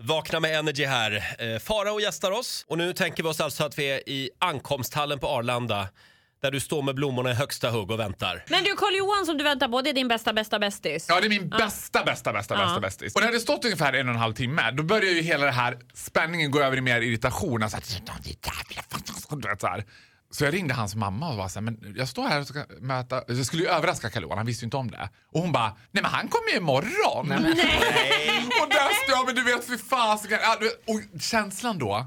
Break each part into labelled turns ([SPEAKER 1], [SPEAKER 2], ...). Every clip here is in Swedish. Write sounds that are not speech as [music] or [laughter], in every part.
[SPEAKER 1] Vakna med Energy här. Eh, Farao gästar oss och nu tänker vi oss alltså att vi är i ankomsthallen på Arlanda där du står med blommorna i högsta hugg och väntar.
[SPEAKER 2] Men du Carl Johan som du väntar på, det är din bästa bästa bästis.
[SPEAKER 3] Ja, det är min bästa, bästa, bästa, bästa
[SPEAKER 2] Ja.
[SPEAKER 3] bästis. Och när det stått ungefär en och en halv timme, då börjar ju hela det här spänningen gå över i mer irritation. Alltså, att- du vet, så, här. så jag ringde hans mamma och var så här, men jag står här och ska möta... Jag skulle ju överraska karl Johan, han visste ju inte om det. Och hon bara, nej men han kommer ju imorgon. [laughs] och där står jag, men du vet, fy fasiken. Ja, du vet, Och känslan då.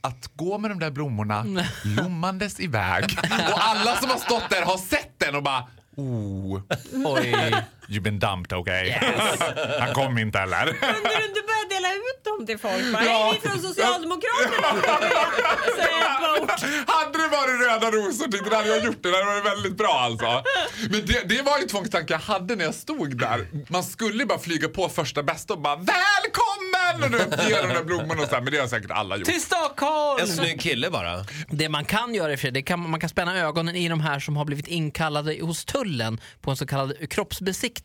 [SPEAKER 3] Att gå med de där blommorna lommandes iväg och alla som har stått där har sett den och bara oh,
[SPEAKER 4] Oj.
[SPEAKER 3] You've been dumped, okej? Han kom inte heller.
[SPEAKER 2] Kunde du inte börja dela ut dem till folk? Va?
[SPEAKER 3] Ja.
[SPEAKER 2] Är vi från Socialdemokraterna? Så jag bara, ort.
[SPEAKER 3] Hade det varit röda rosor tycker jag hade jag gjort det. Det hade varit väldigt bra alltså. Men det, det var ju tvångstanke jag hade när jag stod där. Man skulle ju bara flyga på första bästa och bara välkommen! Och du vet, ge de där blommorna och så här. Men det har säkert alla gjort.
[SPEAKER 4] Till Stockholm!
[SPEAKER 1] En snygg kille bara.
[SPEAKER 4] Alltså, Det man kan göra i och för sig, det kan, man kan spänna ögonen i de här som har blivit inkallade hos tullen på en så kallad kroppsbesiktning.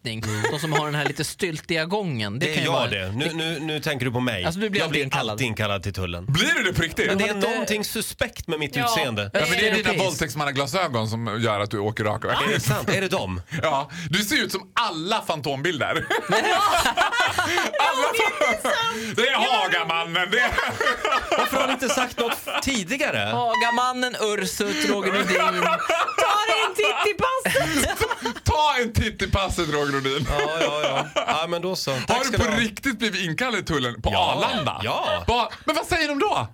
[SPEAKER 4] De som har den här lite styltiga gången. Det,
[SPEAKER 1] Det är
[SPEAKER 4] kan ju
[SPEAKER 1] jag
[SPEAKER 4] vara,
[SPEAKER 1] det. Nu, nu, nu tänker du på mig.
[SPEAKER 4] Alltså, du blir
[SPEAKER 1] jag
[SPEAKER 4] alltid
[SPEAKER 1] blir
[SPEAKER 4] inkallad.
[SPEAKER 1] alltid inkallad till tullen.
[SPEAKER 3] Blir du det på riktigt?
[SPEAKER 1] Det är
[SPEAKER 4] inte-
[SPEAKER 1] någonting suspekt med mitt
[SPEAKER 2] Ja.
[SPEAKER 1] utseende.
[SPEAKER 3] Ja, för det är dina
[SPEAKER 4] Europeiskt.
[SPEAKER 3] våldtäktsmannaglasögon som gör att du åker raka
[SPEAKER 1] Är
[SPEAKER 3] vägen.
[SPEAKER 1] det sant? Är det dem?
[SPEAKER 3] Ja, du ser ut som alla [laughs] fantombilder. alla fan... Det är Hagamannen, det är...
[SPEAKER 1] Varför har ni inte sagt något tidigare?
[SPEAKER 4] Hagamannen, Ursut, Roger Nordin.
[SPEAKER 2] Ta dig en titt i passet!
[SPEAKER 3] Ta en titt i passet Roger Nordin.
[SPEAKER 1] Ja, ja, ja. ja men då så.
[SPEAKER 3] Har
[SPEAKER 1] Tack
[SPEAKER 3] du
[SPEAKER 1] ska
[SPEAKER 3] på
[SPEAKER 1] du ha.
[SPEAKER 3] riktigt blivit inkallad i tullen på
[SPEAKER 1] Ja.
[SPEAKER 3] Arlanda?
[SPEAKER 1] Ja.
[SPEAKER 3] Ba, men vad säger de då?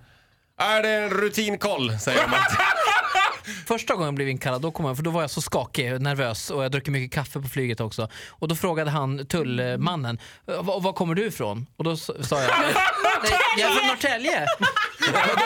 [SPEAKER 1] Är det en rutinkoll, säger man.
[SPEAKER 4] Första gången jag blev inkallad, då kom jag, för då var jag så skakig och nervös och jag druckit mycket kaffe på flyget också. Och då frågade han tullmannen, "Eh, var, var kommer du ifrån? Och då s- sa jag, "Nej, jag är från Norrtälje. [laughs] och, då,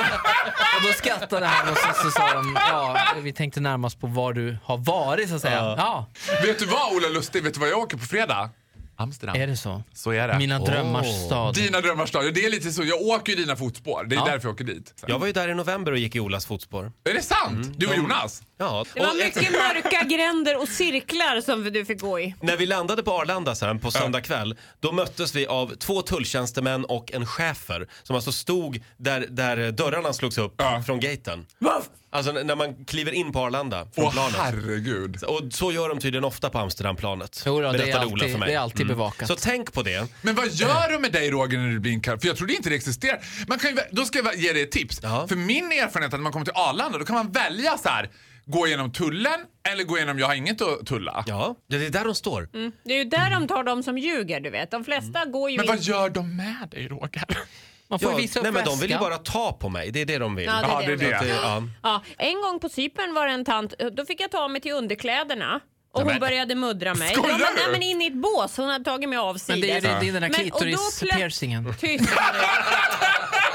[SPEAKER 4] och då skrattade han och så, så sa de, ja vi tänkte närmast på var du har varit så att säga. Ja,
[SPEAKER 3] Vet du vad Ola Lustig, vet du vad jag åker på fredag? Amsterdam.
[SPEAKER 4] är det så?
[SPEAKER 3] Så är det.
[SPEAKER 4] Mina drömmars
[SPEAKER 1] Åh.
[SPEAKER 4] stad.
[SPEAKER 3] Dina drömmars stad. Det är lite så, jag åker i dina fotspår. Det är därför jag åker dit.
[SPEAKER 1] Jag var ju där i november och gick i Olas fotspår.
[SPEAKER 3] Är det
[SPEAKER 1] Mm.
[SPEAKER 3] sant? Du och Jonas?
[SPEAKER 1] Ja.
[SPEAKER 2] Det var
[SPEAKER 1] Och ett-
[SPEAKER 2] mycket mörka gränder och cirklar som du fick gå i.
[SPEAKER 1] När vi landade på Arlanda sen på söndag kväll, då möttes vi av två tulltjänstemän och en chefer som alltså stod där, där dörrarna slogs upp
[SPEAKER 3] Ja.
[SPEAKER 1] från gaten. Alltså n- när man kliver in på Arlanda från
[SPEAKER 3] Åh
[SPEAKER 1] planet.
[SPEAKER 3] herregud.
[SPEAKER 1] Och så gör de tydligen ofta på Amsterdamplanet.
[SPEAKER 4] Jo då, det är
[SPEAKER 1] berättade
[SPEAKER 4] alltid- det är alltid
[SPEAKER 1] Mm.
[SPEAKER 4] bevakat.
[SPEAKER 1] Så tänk på det.
[SPEAKER 3] Men vad gör de med dig Roger när du blir inkallad? För jag trodde inte det existerar. Man kan ju, vä- då ska jag ge dig ett tips.
[SPEAKER 1] Ja.
[SPEAKER 3] För min erfarenhet är att när man kommer till Arlanda då kan man välja så här. Gå igenom tullen eller gå igenom jag har inget att tulla.
[SPEAKER 1] Ja, det är där de står.
[SPEAKER 4] Mm.
[SPEAKER 2] Det är ju där de tar de som ljuger du vet. De flesta går ju
[SPEAKER 3] Mm. Men vad
[SPEAKER 2] in...
[SPEAKER 3] gör de med dig Roger?
[SPEAKER 4] Man får
[SPEAKER 1] Ja,
[SPEAKER 4] visa upp
[SPEAKER 1] nej men de vill ju
[SPEAKER 4] väskan.
[SPEAKER 1] bara ta på mig, det är det de vill.
[SPEAKER 2] Ja, det är
[SPEAKER 3] Ja,
[SPEAKER 2] det
[SPEAKER 3] det är
[SPEAKER 2] de gör.
[SPEAKER 1] Det, ja.
[SPEAKER 2] Ja, en gång på Cypern var det en tant, då fick jag ta mig till underkläderna och hon
[SPEAKER 3] men-
[SPEAKER 2] började muddra mig.
[SPEAKER 3] Skojar
[SPEAKER 2] jag bara, nej
[SPEAKER 3] du?
[SPEAKER 2] men in i ett bås, hon hade tagit mig av
[SPEAKER 4] Men det är,
[SPEAKER 2] sidan.
[SPEAKER 4] det, det är den där
[SPEAKER 2] Men- och då plöts-
[SPEAKER 4] klitoris-piercingen.
[SPEAKER 2] Tyst nu.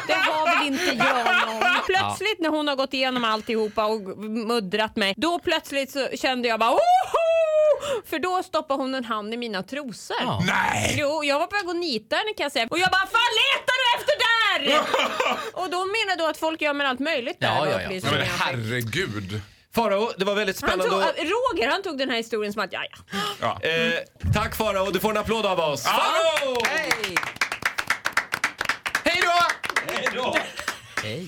[SPEAKER 2] Det var väl inte jag någon. Plötsligt när hon har gått igenom alltihopa och muddrat mig, då plötsligt så kände jag bara Oho! För då stoppade hon en hand i mina trosor.
[SPEAKER 4] Ja.
[SPEAKER 3] Nej!
[SPEAKER 2] Jo, jag var på väg att nita henne kan jag säga. Och jag bara, fan letar du efter
[SPEAKER 4] [laughs]
[SPEAKER 2] där? och då menar då att folk gör mig allt möjligt där.
[SPEAKER 4] Ja,
[SPEAKER 2] var
[SPEAKER 4] ja, ja.
[SPEAKER 3] Ja,
[SPEAKER 2] upplysningen
[SPEAKER 3] men
[SPEAKER 2] jag fick.
[SPEAKER 3] herregud.
[SPEAKER 1] Farao, det var väldigt
[SPEAKER 2] han tog,
[SPEAKER 1] spännande att...
[SPEAKER 2] Roger han tog den här historien som att, ja, ja.
[SPEAKER 3] Ja.
[SPEAKER 1] Eh, tack Farao, du får en applåd av oss. Farao!
[SPEAKER 4] Hej!
[SPEAKER 3] Hej då!
[SPEAKER 1] Hej då!
[SPEAKER 4] Hej.